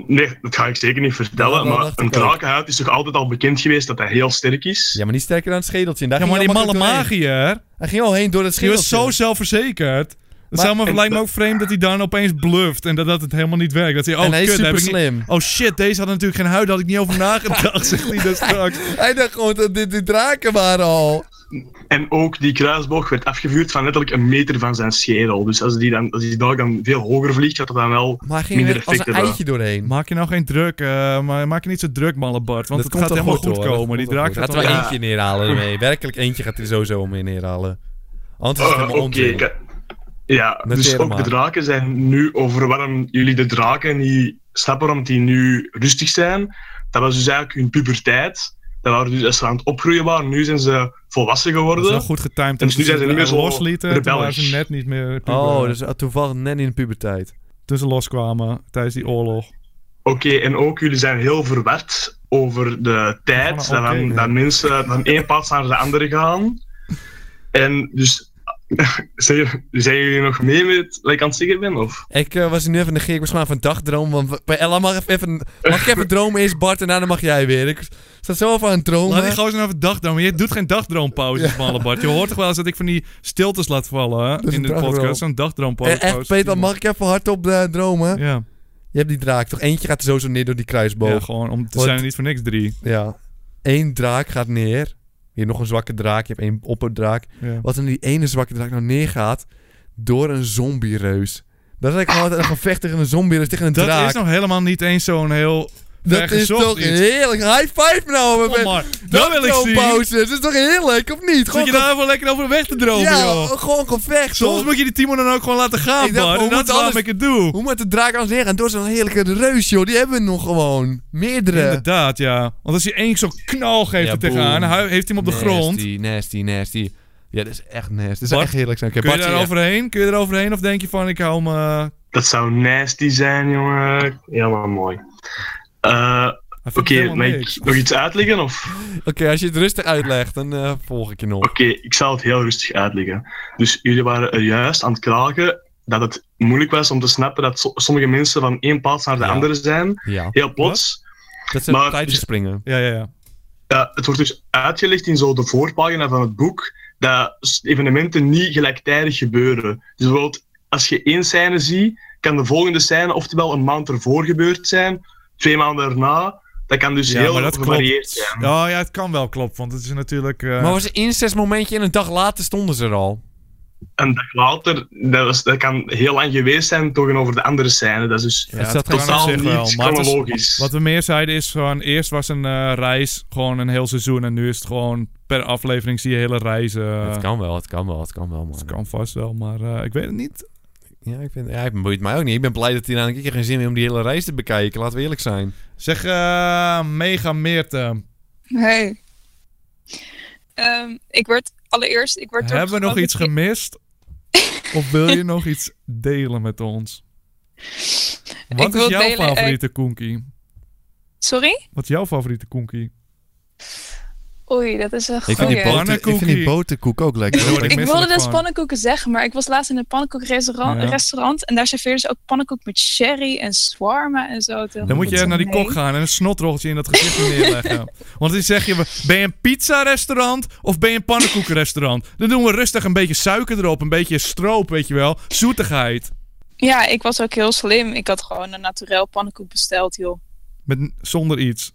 Nee, dat ga ik zeker niet vertellen.
Ja, dat
maar
dacht
een
ik ook.
drakenhuid is toch altijd al bekend geweest dat hij heel sterk is?
Ja, maar niet sterker dan het schedeltje. En Daar
Ja,
ging
maar
hij
die
al
malle
makkelijk doorheen.
magier,
Hij ging al heen door het
die
schedeltje.
was zo zelfverzekerd. Het
Maar-
zou me, lijkt me ook vreemd dat hij dan opeens bluft en dat, dat het helemaal niet werkt. Dat hij, oh
en hij is
kut, heb
super
ik niet-
slim.
Oh shit, deze had natuurlijk geen huid, daar had ik niet over nagedacht, zegt hij dan straks.
Hij dacht gewoon dat dit die draken waren al.
En ook die kruisboog werd afgevuurd van letterlijk een meter van zijn schedel. Dus als die, dan, als die daar dan veel hoger vliegt, gaat dat dan wel...
Maar hij ging er
Minder
als een
effect hebben.
eitje doorheen.
Maak je nou geen druk, eh, maar maak je niet zo druk, malle Bart, want
Dat
het
komt
gaat
wel
helemaal goed,
hoor. Dat
komen. Die
komt wel
draak
goed.
gaat
Laten we
wel-
Ja.
eentje neerhalen ermee. Werkelijk eentje gaat hij er sowieso mee neerhalen. Anders is het
Ah,
helemaal
Oké,
onzin.
ik- ja,
Noteren
dus ook
maar.
de draken zijn nu over waarom jullie de draken niet snappen waarom die nu rustig zijn. Dat was dus eigenlijk hun puberteit. Dat waren dus als ze aan het opgroeien waren, nu zijn ze volwassen
Dat is
geworden.
wel goed getimed.
En dus nu zijn ze niet meer zo
eh, loslieten, toen waren
rebellisch.
ze net niet meer...
Oh, dus toevallig net in de puberteit.
Toen ze loskwamen tijdens die oorlog.
Oké, en ook jullie zijn heel verward over de tijd
Van, oké,
dat,
ja.
dat mensen van eh, één plaats naar de andere gaan. En dus, zijn, zijn jullie nog mee met wat ik aan het zeggen ben? Of?
Ik eh, was nu even negeren. Ik was gewoon van een dagdroom. Want we- bij Ella mag ik even, mag ik even dromen eerst, Bart, en daarna mag jij weer. Ik sta zo even aan het
Laat die
dromen.
gozer nou even dagdromen. Je doet geen dagdroompauzes, malle Bart. Je hoort toch wel eens dat ik van die stiltes laat vallen hè,
is
in
een
de
dagdroom.
podcast. Zo'n dagdroompauze.
Eh, echt, Peter, mag ik even hardop eh, dromen?
Ja.
Je hebt die draak toch? Eentje gaat er sowieso neer door die kruisboog.
ja,
Ja,
gewoon. Om, te
Wat?
zijn er niet voor niks drie.
Eén draak gaat neer. Je hebt nog een zwakke draak. Je hebt één opperdraak.
Ja.
Wat in die ene zwakke draak nou neergaat door een zombiereus. Dat is eigenlijk gewoon altijd een gevecht tegen een zombiereus, tegen een
Dat
draak.
is nog helemaal niet eens zo'n heel...
dat is
vergezocht
toch
iets.
heerlijk. High five nou.
Kom maar. Dat wil ik zien.
Pauze. Dat is toch heerlijk, of niet?
Zit je nou daar wel lekker over weg te dromen,
ja,
joh.
gewoon gevecht.
Soms
toch?
moet je die Timo dan ook gewoon laten gaan,
Ik dacht,
Bart.
hoe
En dat
moet
is waarom
alles-
ik het doe.
Hoe moet de draak anders neergaan? Door zo'n heerlijke reus, joh. Die hebben we nog gewoon. Meerdere.
Inderdaad, ja. Want als je één zo'n knal geeft
Ja,
er tegenaan,
boem.
hij heeft hij hem op de
nasty,
grond.
Nasty, nasty, nasty. Ja, dat is echt nasty. Dat is
Bart,
echt heerlijk zijn. Oké,
Kun je
Bart,
daar
ja.
overheen? Kun je er overheen? Of denk je van, ik hou me...
Dat zou nasty zijn, jongen. Helemaal mooi. Eh,
Hij vindt
Oké,
helemaal
mag
niks.
ik nog iets uitleggen? Of?
Oké, als je het rustig uitlegt, dan eh, volg ik je nog.
Oké, ik zal het heel rustig uitleggen. Dus jullie waren er juist aan het klagen dat het moeilijk was om te snappen dat so- sommige mensen van één plaats naar de
Ja.
andere zijn.
Ja,
Heel plots.
dat zijn
Maar- dus-
tijdjes springen.
Ja, ja, ja.
Ja, het wordt dus uitgelegd in zo de voorpagina van het boek dat s- evenementen niet gelijktijdig gebeuren. Dus bijvoorbeeld, als je één scène ziet, kan de volgende scène oftewel een maand ervoor gebeurd zijn, twee maanden erna. Dat kan dus
ja,
heel
maar dat
gevarieerd
klopt. Oh,
zijn.
Ja, ja, het kan wel kloppen, want het is natuurlijk... eh,
Maar was een incestmomentje en een dag later stonden ze er al.
Een dag later, dat, was, dat kan heel lang geweest zijn tegenover de andere scène. Dat is dus
ja,
het staat
kan op
gewoon
totaal
zich
niet
wel, maar het is-
chronologisch.
Wat we meer zeiden is gewoon, eerst was een eh, reis gewoon een heel seizoen en nu is het gewoon per aflevering zie je hele reizen.
het kan wel, het kan wel, het kan wel, man.
Het kan vast wel, maar eh, ik weet het niet.
Ja, ik vind, ja, het boeit mij ook niet. Ik ben blij dat hij nou een keer geen zin meer om die hele reis te bekijken. Laten we eerlijk zijn.
Zeg, eh, mega Meerte,
Hey. Ehm, ik werd allereerst... Ik werd
hebben we nog iets
gemist?
gemist? of wil je nog iets delen met ons? Wat is
wil
jouw
delen, eh,
favoriete koenkie?
Sorry?
Wat is jouw favoriete koenkie?
Oei, dat is een
Ik vind, die
goeie.
boter- ik vind die
boterkoek ook lekker.
Daar word ik
Ik
misselijk
wilde dus
van.
pannenkoeken zeggen, maar ik was laatst in een pannenkoekrestaurant
Ja.
restaurant en daar serveerden ze ook pannenkoek met sherry en swarma en zo. Toen
Dan moet je
dacht ik,
naar die
nee.
kok gaan en een snotroltje in dat gezicht neerleggen. Want die zeg je, ben je een pizza-restaurant of ben je een pannenkoekenrestaurant? Dan doen we rustig een beetje suiker erop, een beetje stroop, weet je wel. Zoetigheid.
Ja, ik was ook heel slim. Ik had gewoon een naturel pannenkoek besteld, joh.
Met, n- zonder iets.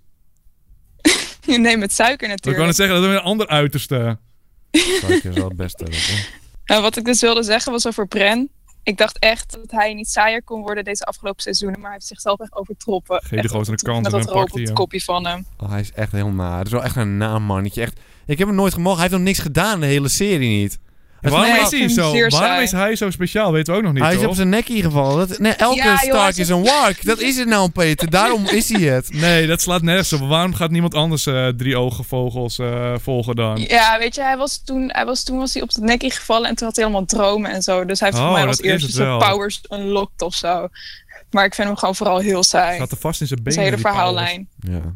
nee, met suiker
Ik kan
natuurlijk.
het zeggen, dat is weer een ander uiterste.
Suiker is wel het beste. dat, hoor.
Nou, En wat ik dus wilde zeggen was over Bren. Ik dacht echt dat hij niet saaier kon worden deze afgelopen seizoenen, maar hij heeft zichzelf echt overtroffen.
Geef de gozer een kans
Met
en
dat
dan pakt hij hem.
robotkopje van hem.
Oh, hij is echt helemaal naar. Het is wel echt een naam, mannetje. Echt, ik heb hem nooit gemogen. Hij heeft nog niks gedaan, de hele serie niet.
En waarom is hij zo? Waarom is hij zo speciaal? Weten we ook nog niet.
Hij is
toch?
op zijn nek ingevallen. Dat, nee, elke
Ja, joh, hij
staart
is
is
op-
een wark. Dat is het nou, Peter. Daarom is hij het.
Nee, dat slaat nergens op. Waarom gaat niemand anders eh drie ogen vogels eh, volgen dan?
Ja, weet je, hij was toen, hij was, toen was hij op de nek ingevallen en toen had hij helemaal dromen en zo. Dus hij heeft
Oh,
voor mij als
dat is
eerste
het
zijn
wel.
powers unlocked of zo. Maar ik vind hem gewoon vooral heel saai.
Gaat er vast in zijn benen.
Zijn hele
die Oh, powers.
verhaallijn.
Ja.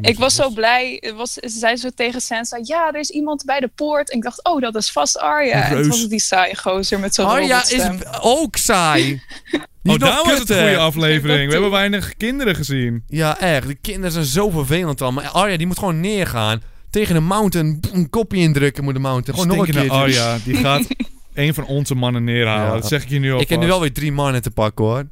Ik was zo blij. Het Was, ze zei zo tegen Sansa, ja, er is iemand bij de poort. En ik dacht, oh, dat is vast Arya.
Een
En toen
reus.
was het die saaie gozer met zo'n
Arya
robotstem.
is ook saai.
Oh, daar was het een goede
Dat
aflevering.
doet-
We hebben weinig kinderen gezien.
Ja, echt. De kinderen zijn zo vervelend al. Maar Arya, die moet gewoon neergaan. Tegen de mountain. boem, Een kopje indrukken moet de mountain. Gewoon nog een keer.
Stinkende Arya, die gaat een van onze mannen neerhalen.
Ja.
Dat zeg ik je nu al.
Ik heb nu wel weer drie mannen te pakken hoor.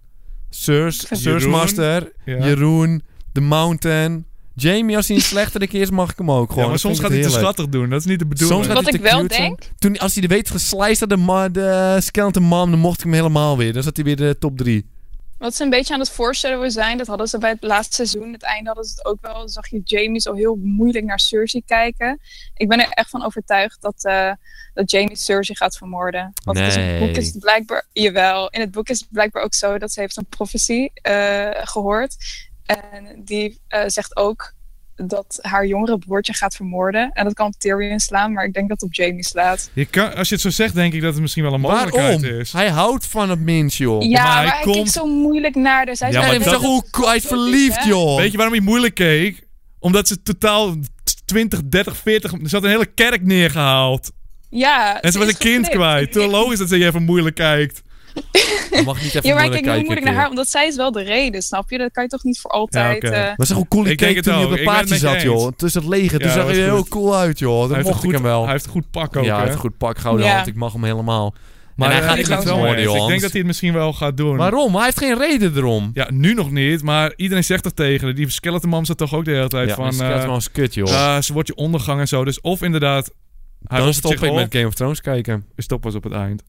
Sirs,
Jeroen.
Sirs Master,
Ja.
Jeroen, The Mountain. Jamie, als hij een slechterik is, mag ik hem ook gewoon.
maar
Dat
soms
vind
gaat
ik
hij te
heerlijk.
schattig doen. Dat is niet de bedoeling.
Soms gaat hij te cute zijn. Toen, als hij er weet geslijst had, de, ma- de skeleton mom, dan mocht ik hem helemaal weer. Dan zat hij weer de top drie.
Wat ze een beetje aan het voorstellen zijn, dat hadden ze bij het laatste seizoen, het einde hadden ze het ook wel. Zag je Jamie zo heel moeilijk naar Cersei kijken. Ik ben er echt van overtuigd dat, eh, dat Jamie Cersei gaat vermoorden. Want het is in het
Nee.
boek is het blijkbaar, jawel, in het boek is het blijkbaar ook zo dat ze heeft een profetie eh, gehoord. En die eh, zegt ook dat haar jongere broertje gaat vermoorden. En dat kan op Tyrion slaan, maar ik denk dat het op Jamie slaat.
Je kan, als je het zo zegt, denk ik dat het misschien wel een mogelijkheid
Waarom?
is.
Hij houdt van het mens, joh.
Ja, maar, hij kijkt zo moeilijk naar. Dus hij
Ja,
zegt
maar
ook
dat-
dat
Hoe
het-
hij is verliefd, joh.
Weet je waarom hij moeilijk keek? Omdat ze totaal 20, 30, 40... Ze had een hele kerk neergehaald.
Ja,
En ze was
is
een kind
geflipt.
kwijt. Toen logisch dat ze je even moeilijk kijkt.
mag niet
Ja, maar ik kijk nu moeilijk naar haar, omdat zij is wel de reden, snap je? Dat kan je toch niet voor altijd... eh,
Maar zeg hoe cool hij
Ik denk
keek
het
toen hij op
ook.
een
Ik ben het
paardje
met je
zat, joh.
eens.
Tussen het leger. Toen
Ja,
zag
was
hij er heel
goed.
cool uit, joh.
Hij
Dat
heeft
mocht
een
ik
goed-
hem wel.
Hij heeft een goed pak ook,
Ja, hij
hè?
heeft een goed pak, gouden
Ja.
hand. Ik mag hem helemaal.
Maar
en hij
eh, ik
gaat niet
ben het
goed
wel
worden,
eens.
joh.
Ik denk
anders-
dat hij het misschien wel gaat doen.
Waarom? Hij heeft geen reden erom.
Ja, nu nog niet, maar iedereen zegt er tegen. haar. Die Skeleton Mom zat toch ook de hele tijd
Ja,
van...
maar Skeleton
eh,
Mom is kut, joh.
ja, ze wordt je ondergang en zo. Dus of inderdaad... Hij
Dan
offert
stop
zich
ik
op.
met Game of Thrones kijken.
Stop was op het eind.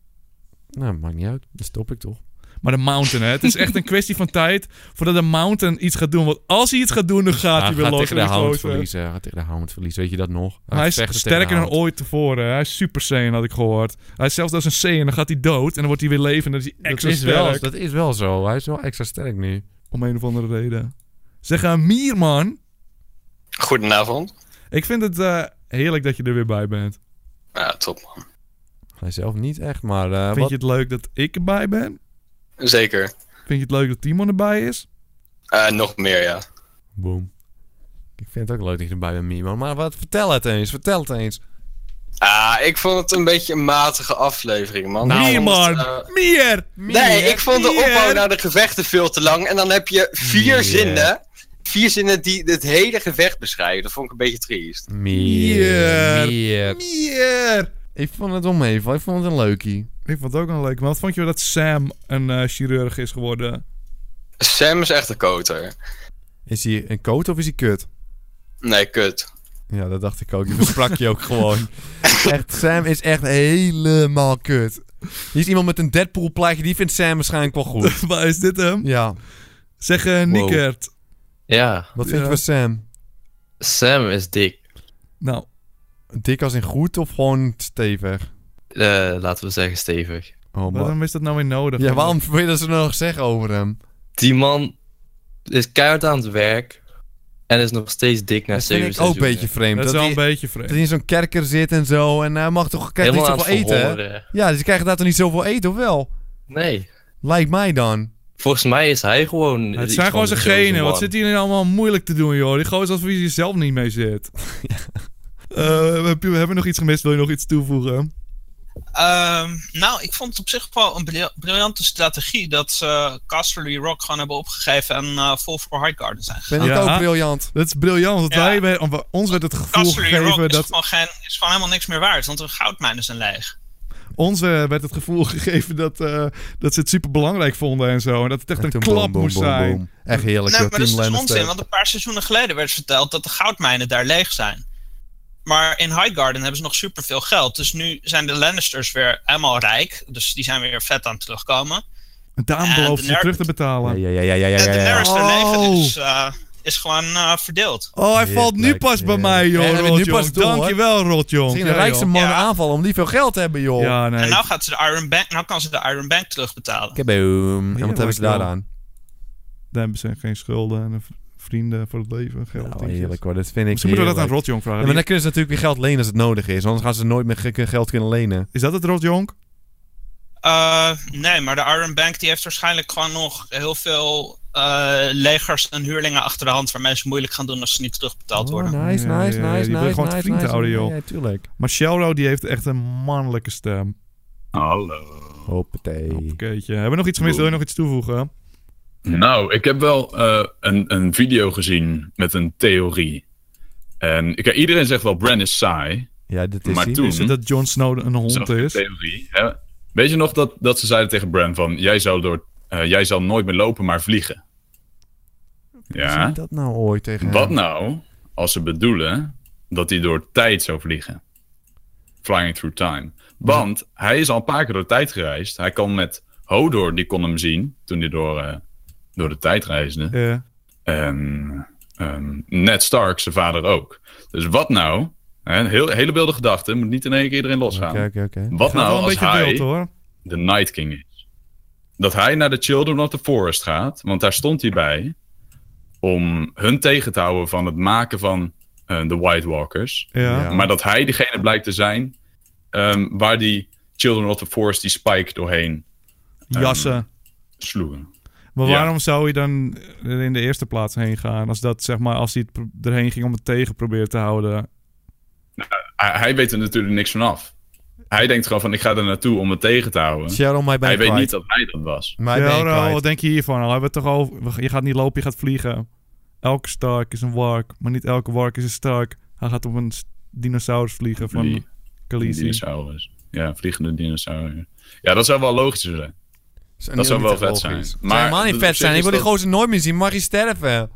Nou, maakt niet uit. Dan stop ik toch.
Maar de Mountain, hè. Het is echt een kwestie van tijd voordat de Mountain iets gaat doen. Want als hij iets gaat doen, dan gaat hij
hij
weer
gaat
los.
tegen de
en die
hound
kloten.
verliezen. Hij gaat tegen de hound verliezen. Weet je dat nog?
Maar hij
gaat
is
vechten tegen
sterker
de
dan
hound.
ooit tevoren. hè. Hij is super saiyan, had ik gehoord. Hij is zelfs als een saiyan, dan gaat hij dood. En dan wordt hij weer levend. Dan is hij
Dat
extra
is, wel,
sterk.
dat is wel zo. Hij is wel extra sterk nu.
Om een of andere reden. Zeg, aan Mier, man.
Goedenavond.
Ik vind het eh, heerlijk dat je er weer bij bent. Eh,
Ja, top man.
Hij zelf niet echt, maar... eh,
Vind
wat-
je het leuk dat ik erbij ben?
Zeker.
Vind je het leuk dat Timon erbij is?
Eh, nog meer, ja.
Boom. Ik vind het ook leuk dat je erbij bent, Mimo. Maar wat, vertel het eens. Vertel het eens.
Ah, ik vond het een beetje een matige aflevering, man.
Nou,
Ik
Meer,
vond het,
man.
eh,
Mier!
Nee, ik vond de opbouw naar de gevechten veel te lang. En dan heb je vier
Meer.
zinnen. Vier zinnen die het hele gevecht beschrijven. Dat vond ik een beetje triest.
Meer.
Mier.
Meer.
Mier!
Ik vond het wel meevallen. Ik vond het een leukie.
Ik vond het ook wel leuk. Maar wat vond je wel dat Sam een eh, chirurg is geworden?
Sam is echt een koter.
Is hij een coat of is hij kut?
Nee, kut.
Ja, dat dacht ik ook. Die besprak je ook gewoon. Echt, Sam is echt helemaal kut. Hier is iemand met een Deadpool plaatje. Die vindt Sam waarschijnlijk wel goed.
Waar is dit hem?
Ja.
Zeg, eh Nikert.
Ja.
Wat vind je van Sam?
Sam is dik.
Nou.
Dik als in goed of gewoon stevig?
Eh, laten we zeggen stevig.
Oh,
Waarom is dat nou weer nodig?
Ja, waarom wil je dat ze nog zeggen over hem?
Die man is keihard aan het werk en is nog steeds dik na
Dat vind
zeven
ik ook een
seizoenen.
beetje vreemd.
Dat is wel
hij-
een beetje vreemd.
Dat hij in zo'n kerker zit en zo. En hij mag toch krijgt niet
Helemaal
zoveel
aan het
eten? hè?
verhongeren.
Ja, dus je krijgt daar toch niet zoveel eten, of wel?
Nee.
Lijkt mij dan.
Volgens mij is hij gewoon...
Het
iets
zijn gewoon
van
dus
zijn
de chosen
genen. Wat
one.
zit hier nou allemaal moeilijk te doen, joh? Die gozer is alsof hij er zelf niet mee zit. Eh, heb je- we hebben nog iets gemist. Wil je nog iets toevoegen?
Ehm, nou, ik vond het op zich wel een bril- briljante strategie dat ze Casterly Rock gewoon hebben opgegeven en eh, vol voor Highgarden zijn
Vind
gegaan.
ik ook briljant.
Dat is briljant. Want wij, wij- om- ons werd het gevoel
Casterly Rock
gegeven
is,
dat...
gewoon geen, is gewoon helemaal niks meer waard, want de goudmijnen zijn leeg.
Ons eh, werd het gevoel gegeven dat, eh, dat ze het super belangrijk vonden en zo. En dat het echt een
toen
klap
boom, boom,
moest
boom,
zijn.
boom. Echt heerlijk,
Nee,
joh,
maar dat is
Team eh.
dus
Lannister.
onzin, want een paar seizoenen geleden werd verteld dat de goudmijnen daar leeg zijn. Maar in Highgarden hebben ze nog superveel geld. Dus nu zijn de Lannisters weer helemaal rijk. Dus die zijn weer vet aan het terugkomen.
En daarom
En
belooft
de
ze
ner-
terug te betalen.
Ja, ja, ja, ja, ja.
En
ja, ja.
Daenerys
Oh.
daarleven
dus-
is, eh, is gewoon eh, verdeeld.
Oh, hij valt nu pas bij mij, joh,
Ja, hij bent nu
Rotjong.
pas door, hoor.
Dankjewel, Rotjong.
Misschien
Ja,
de rijkste
joh.
man aanvallen om die veel geld te hebben, joh.
Ja, nee.
En nou, gaat ze de Iron Bank, nou kan ze de Iron Bank terugbetalen.
Kaboom. En wat hebben ze
dankjewel.
daaraan?
Dan hebben ze geen schulden en een v- vrienden voor het leven. Geld,
Nou,
dingetjes.
heerlijk hoor, dat vind ik
Misschien moeten we dat aan
heerlijk.
Rotjong vragen.
Ja, maar dan
Die-
kunnen ze natuurlijk weer geld lenen als het nodig is. Anders gaan ze nooit meer ge- geld kunnen lenen.
Is dat het, Rotjong?
Eh, nee, maar de Iron Bank die heeft waarschijnlijk gewoon nog heel veel eh, legers en huurlingen achter de hand waarmee ze moeilijk gaan doen als ze niet
Oh,
terugbetaald worden.
Nice,
Ja,
nice,
ja, ja,
nice,
Die wil
nice,
gewoon te
nice,
vriend
nice.
houden,
Ja,
joh.
ja, tuurlijk.
Maar Shelro, die heeft echt een mannelijke stem.
Hallo.
Hoppatee.
Keetje. Hebben we nog iets gemist? Wil je nog iets toevoegen?
Nou, ik heb wel eh, een, een video gezien met een theorie. En ik, iedereen zegt wel, Bran is saai.
Ja, dit
is Maar hij. toen-
Is het dat Jon Snow een hond
Zo'n
is?
theorie. Hè? Weet je nog dat, dat ze zeiden tegen Bran van... Jij, zou door, eh, jij zal nooit meer lopen, maar vliegen.
Zeg
Ja,
ik dat nou ooit tegen
wat
hem?
nou als ze bedoelen dat hij door tijd zou vliegen? Flying through time. Want hij is al een paar keer door de tijd gereisd. Hij kan met Hodor, die kon hem zien toen hij door, eh, door de tijd reisde.
Ja.
En ehm, Ned Stark, zijn vader ook. Dus wat nou? Hè, heel, hele wilde gedachte, moet niet in één keer iedereen losgaan.
Oké, oké, oké.
Wat
Gaat wel
nou
een
als
beetje
hij
wild, hoor.
de Night King is? Dat hij naar de Children of the Forest gaat, want daar stond hij bij, om hun tegen te houden van het maken van eh, de White Walkers.
Ja. Ja.
Maar dat hij degene blijkt te zijn ehm, waar die Children of the Forest die Spike doorheen ehm,
Jassen.
sloegen.
Maar
Ja.
waarom zou je dan er in de eerste plaats heen gaan? Als, dat, zeg maar, als hij het pro- erheen ging om het tegen proberen te houden.
hij, hij weet er natuurlijk niks van af. Hij denkt gewoon van, ik ga er naartoe om het tegen te houden.
Sharon, mij ben
hij
ik
weet
kwijt.
niet dat hij dat was.
Mij ben
Ja,
ik
Ro,
kwijt.
wat denk je hiervan? Al hebben we het toch over. Je gaat niet lopen, je gaat vliegen. Elke Stark is een wark, maar niet elke wark is een Stark. Hij gaat op een s- dinosaurus vliegen van
Die-
Khaleesi.
Dinosaurus. Ja, vliegende dinosaurus. Ja, dat zou wel logischer zijn.
Zijn
dat zou
niet
wel
echt
vet zijn.
logisch. Zou
Maar
helemaal niet
op
vet
zich
zijn.
is
Ik wil die
dat-
gozer nooit meer zien. Mag hij sterven?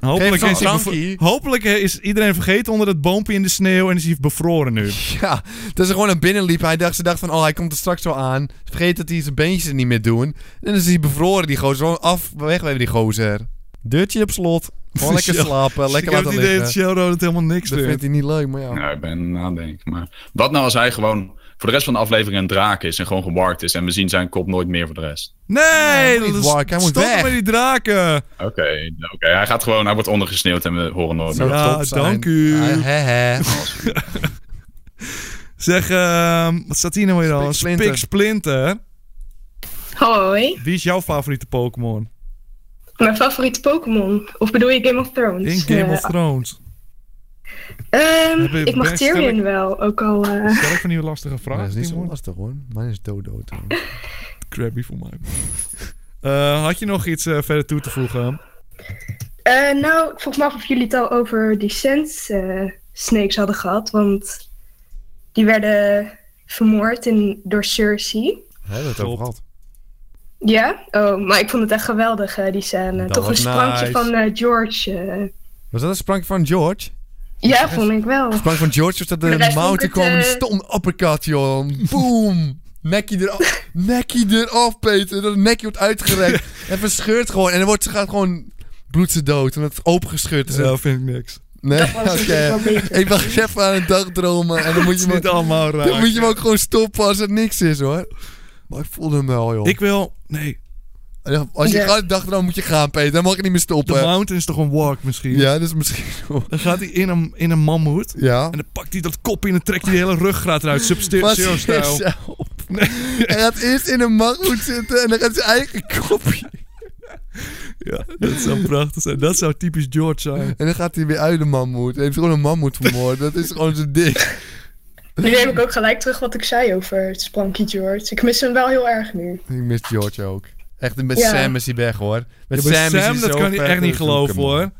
Hopelijk
Geef
is, hij
zo'n
bevo-
drankje.
hopelijk eh, is iedereen vergeten onder het boompje in de sneeuw en is hij bevroren nu.
Ja, dat ze gewoon naar binnen liep. Hij dacht, ze dacht van, oh, hij komt er straks wel aan. Ze vergeet dat hij zijn beentjes er niet meer doen. En dan is hij bevroren, die gozer. Gewoon af, weg bij die gozer. Deurtje op slot. Gewoon lekker
Shell-
slapen, lekker
Ik heb
laten
het idee
liggen.
dat Shellroad het helemaal niks
dat
doet.
vindt hij niet leuk, maar ja.
Nou, ik ben aan het nadenken. Maar wat nou als hij gewoon voor de rest van de aflevering een draak is en gewoon gewarkt is en we zien zijn kop nooit meer voor de rest?
Nee,
moet
dat
niet
is
warken, hij moet
stop
weg.
met die draken.
Oké, oké. hij gaat gewoon, hij wordt ondergesneeuwd en we horen nooit meer.
Ja, dank u. zeg, ehm, wat staat hier nou weer al?
Splinter.
Spik Splinter.
Hoi,
Wie is jouw favoriete Pokémon?
mijn favoriete Pokémon. Of bedoel je Game of Thrones?
In Game
Eh,
of Thrones.
ehm,
Heb je
ik mag
best
Tyrion
sterk-
wel, ook al... eh,
Stel ik van die lastige vraag.
dat is niet zo
Timon?
lastig hoor. Mijn is dodo trouwens.
Crabby voor mij. Eh, had je nog iets eh, verder toe te voegen?
eh, nou, ik vroeg me af of jullie het al over die Sand eh, Snakes hadden gehad, want die werden vermoord in, door Cersei.
Hebben we het over gehad?
Ja, oh, maar ik vond het echt geweldig, eh, die scène.
Dat
Toch een
was
sprankje
nice.
van eh, George. eh.
Was dat een sprankje van George?
ja, vond ik wel.
Sprankje van George was dat
De
de
rest vond
mouw
ik
te
het,
komen.
eh,
Stom uppercut, joh. Boom. Nekkie eraf. Nekkie eraf, Peter. Dat nekkie wordt uitgerekt. en verscheurt gewoon. En dan wordt, ze gaat gewoon bloed ze dood. Omdat het opengescheurd is.
Ja, vind ik niks.
Nee,
Dat was
oké.
natuurlijk wel beter.
Ik mag even aan een dagdromen. En dan moet je
Het is
me-
niet allemaal
Dan
raak,
moet je me
ja.
ook gewoon stoppen als er niks is, hoor. Maar ik voelde hem wel, joh.
Ik wil... Nee.
Als je
Ja.
gaat dagdromen moet je gaan, Peter. Dan mag je niet meer
De
stoppen.
Mountain is toch een walk misschien?
Ja, dat is misschien wel.
Dan gaat hij in een, in een mammoet.
Ja.
En dan pakt hij dat kopje en dan trekt hij de hele ruggraat eruit. Sub-Zero-stijl.
Hij gaat eerst in een maggoed zitten en dan gaat zijn eigen kopje.
Ja, dat zou prachtig zijn. Dat zou typisch George zijn.
En dan gaat hij weer uit de mammoet. Hij heeft gewoon een mammoet vermoord. Dat is gewoon zijn ding.
Nu heb ik ook gelijk terug wat ik zei over het sprankje George. Ik mis hem wel heel erg nu.
Ik mis George ook. Echt, met
Ja.
Sam is hij weg hoor. Met
Ja, maar
Sam, is hij
dat
zo
kan je
ver
echt niet
te zoeken,
geloven
man.
hoor.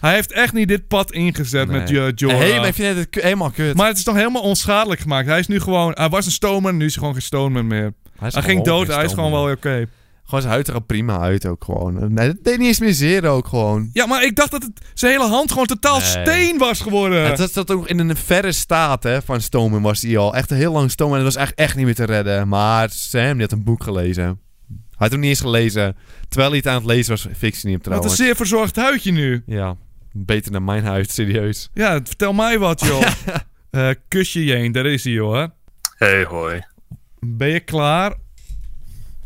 Hij heeft echt niet dit pad ingezet met
Nee.
eh, Jorah.
Hey, maar ik vind het k- helemaal kut.
Maar het is toch helemaal onschadelijk gemaakt. Hij is nu gewoon... Hij was een stoneman, nu is hij gewoon geen stoneman meer. Hij,
is
ging
gewoon
dood,
geen
hij is gewoon wel
stoneman.
oké.
Gewoon zijn huid er al prima uit ook gewoon. Nee, dat deed niet eens meer zeer ook gewoon.
Ja, maar ik dacht dat het, zijn hele hand gewoon totaal
Nee.
steen was geworden.
Het was dat ook in een verre staat hè, van Stomen was hij al. Echt een heel lang Stomen en dat was echt, echt niet meer te redden. Maar Sam, die had een boek gelezen. Hij had hem niet eens gelezen. Terwijl hij het aan het lezen was, fictie niet hem
Wat een
trouwens.
zeer verzorgd huidje nu.
Ja, beter naar mijn huid, serieus.
Ja, vertel mij wat, joh. Eh kusje Jeen, daar is hij, joh.
Hey, hoi.
Ben je klaar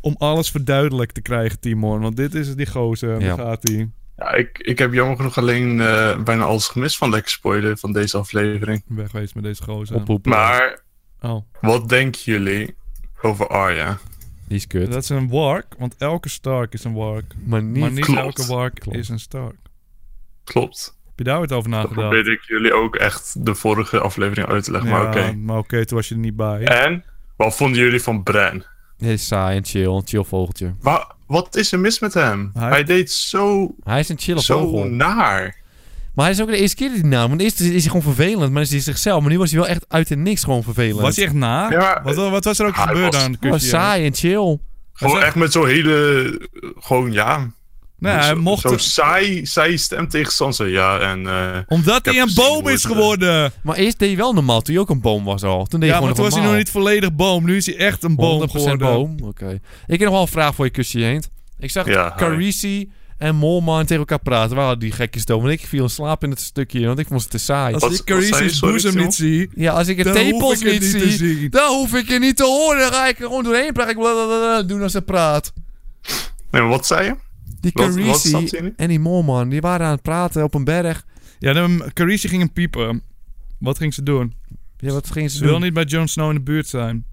om alles verduidelijk te krijgen, Timon? Want dit is die gozer.
Ja.
Daar gaat hij.
Ja, ik, ik heb jammer genoeg alleen eh, bijna alles gemist van Lekker Spoiler van deze aflevering.
Weg geweest met deze gozer.
Maar
Oh.
wat denken jullie over Arya?
Die is kut.
Dat is een wark, want elke Stark is een wark.
Maar niet- Klopt.
elke wark
Klopt.
is een Stark.
Klopt.
Heb je daar ooit over
Dat
nagedacht?
probeerde ik jullie ook echt de vorige aflevering uit te leggen, maar
Ja,
oké.
Maar oké, toen was je er niet bij.
Eh.
En? Wat vonden jullie van Bran?
Dit is saai en chill, een chill vogeltje.
Wa- wat is er mis met hem? Hij, deed zo...
Hij is een chille
zo
vogel.
naar.
Maar hij is ook de eerste keer die naam. Want de eerste is hij gewoon vervelend, maar is hij zichzelf. Maar nu was hij wel echt uit de niks gewoon vervelend.
Was hij echt naar? wat, wat was er ook
hij
gebeurd
was-
aan het
Hij was
kusje?
saai en chill.
Gewoon echt met zo'n hele... eh, Gewoon ja.
Nee, hij
Zo-
mocht-
Zo'n saai, saai stem tegen Sansa, ja. En, eh,
Omdat
ik
hij
heb
een
gezien
boom
hoe
is
het, eh,
geworden.
Maar eerst deed hij wel normaal, toen hij ook een boom was al. Toen deed
Ja,
hij
maar
gewoon
toen was hij nog
normaal.
niet volledig boom. Nu is hij echt een boom
100%
geworden.
boom. Oké. Ik heb nog wel een vraag voor je, kusje Heent. Ik zag
Ja, hi.
Carisi en Molman tegen elkaar praten. Waar hadden die gekjes dom? Want ik viel in slaap in het stukje, want ik vond het te saai.
Als ik Carice's boezem niet zie...
Ja, als ik het
dan
tepels
hoef ik
niet
het niet te
zie,
zien.
dan hoef ik je niet te horen. Dan ga ik er gewoon doorheen praten. Ik blablabla doen als ze praat.
Nee, maar wat zei je?
Die
Wat- wat
Carisi
snapte je niet?
en die Molman, die waren aan het praten op een berg.
Ja, dan, Carice ging hem piepen. Wat ging ze doen?
Ja, wat ging
ze
ze
wil
doen?
niet bij Jon Snow in de buurt zijn.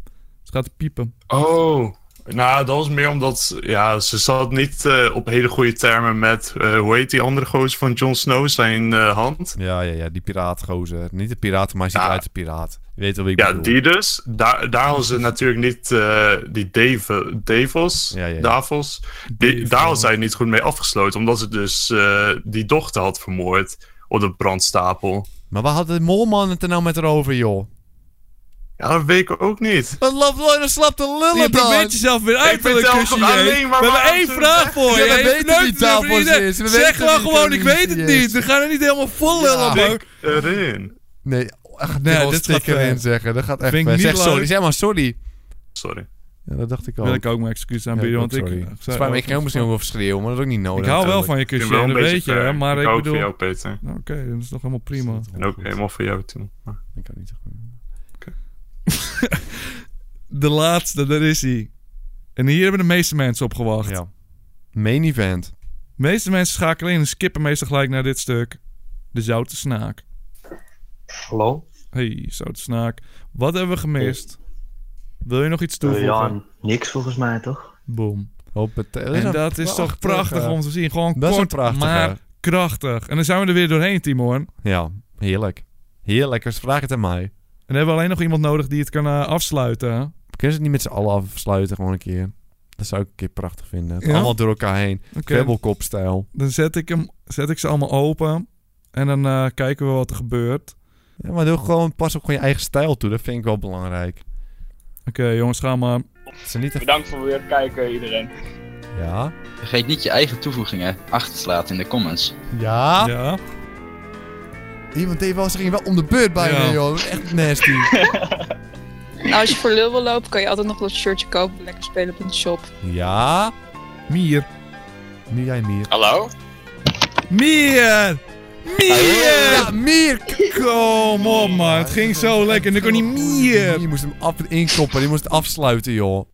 Ze gaat piepen.
Oh, nou, dat was meer omdat ja, ze zat niet eh, op hele goede termen met, eh, hoe heet die andere gozer van Jon Snow, zijn eh, hand.
Ja, ja, ja, die piraatgozer. Niet de piraat, maar hij ziet eruit de piraat. Je weet wel wie ik
Ja,
bedoel.
die dus. Daar, daar hadden ze natuurlijk niet eh, die Dave, Davos, Davos. Die, daar had zij niet goed mee afgesloten, omdat ze dus eh, die dochter had vermoord op de brandstapel.
Maar waar had de Molman het er nou met haar over, joh?
Ja, dat weet ik ook niet.
Wat loopt Lorne slap te lullen
Je
dan?
probeert jezelf weer uit
Ik
te willen
vertel
kussen,
toch
J.
alleen maar
We hebben
waarom
één
ze-
vraag voor je.
Ja, we
Je
weten
hebt nooit
wie
meer
Davos
vrienden.
is. We
Zeg
weten
gewoon
wie
gewoon, ik
Davos
weet het
is.
niet. We gaan er niet helemaal vol lullen, man.
Tik erin.
Nee, ach,
Nee,
nee,
dit
dit sticker
gaat, eh,
in zeggen. Dat gaat echt
vind ik
ver.
niet
Zeg sorry,
leuk.
zeg maar sorry.
Sorry.
Ja, dat dacht ik al.
Wil ik ook mijn excuses aanbieden,
Ja,
want ik-
sorry.
ik zei-
Spijt me, ik ging ook misschien wel verschreeuwen, maar dat is ook niet nodig.
Ik hou wel
natuurlijk.
van je
Ik
kusje,
ben wel
dat
een beetje
weet je. hè,
ver.
Maar
Ik
ik
hou ook
bedoel...
van jou, Peter.
Nou, Oké, dat is toch helemaal prima.
En ook helemaal voor jou, Tim. Maar-
Ik kan niet zo goed.
De laatste, daar is hij. En hier hebben de meeste mensen op gewacht.
Ja. Main event.
De meeste mensen schakelen in en skippen meestal gelijk naar dit stuk. De zoute snaak.
Hallo?
Hey, zoute snaak. Wat hebben we gemist? Wil je nog iets
Eh,
toevoegen?
ja, niks volgens mij toch?
Boom.
Hoppatee.
En Eh, dat is toch prachtig om te zien. Gewoon
Dat is een
kort,
prachtige.
maar krachtig. En dan zijn we er weer doorheen, Timon. En
Ja, heerlijk. Heerlijk, dus vraag het aan mij.
dan hebben we alleen nog iemand nodig die het kan eh, afsluiten.
Kunnen ze het niet met z'n allen afsluiten gewoon een keer? Dat zou ik een keer prachtig vinden. Het
Ja?
Allemaal door elkaar heen.
Oké.
Kwebbelkopstijl.
Dan zet ik, hem, zet ik ze allemaal open. En dan eh, kijken we wat er gebeurt.
Ja, maar doe gewoon, pas op gewoon je eigen stijl toe. Dat vind ik wel belangrijk. Oh.
Oké, jongens, ga maar.
Het is niet
Bedankt voor weer kijken, iedereen.
Ja.
Vergeet niet je eigen toevoegingen achter te laten in de comments.
Ja.
Ja.
Iemand deed wel, ze ging wel om de beurt bijna,
Ja.
joh. Echt nasty.
Nou, als je voor lul wil lopen, kan je altijd nog dat shirtje kopen. Lekker spelen op de shop.
ja.
Mier.
Nu jij Mier.
Hallo?
Meer! Meer!
Ja, meer!
Kom op, man. Het ging zo lekker. Nu kon hij meer.
Je moest hem af inkoppen. Je moest het afsluiten, joh.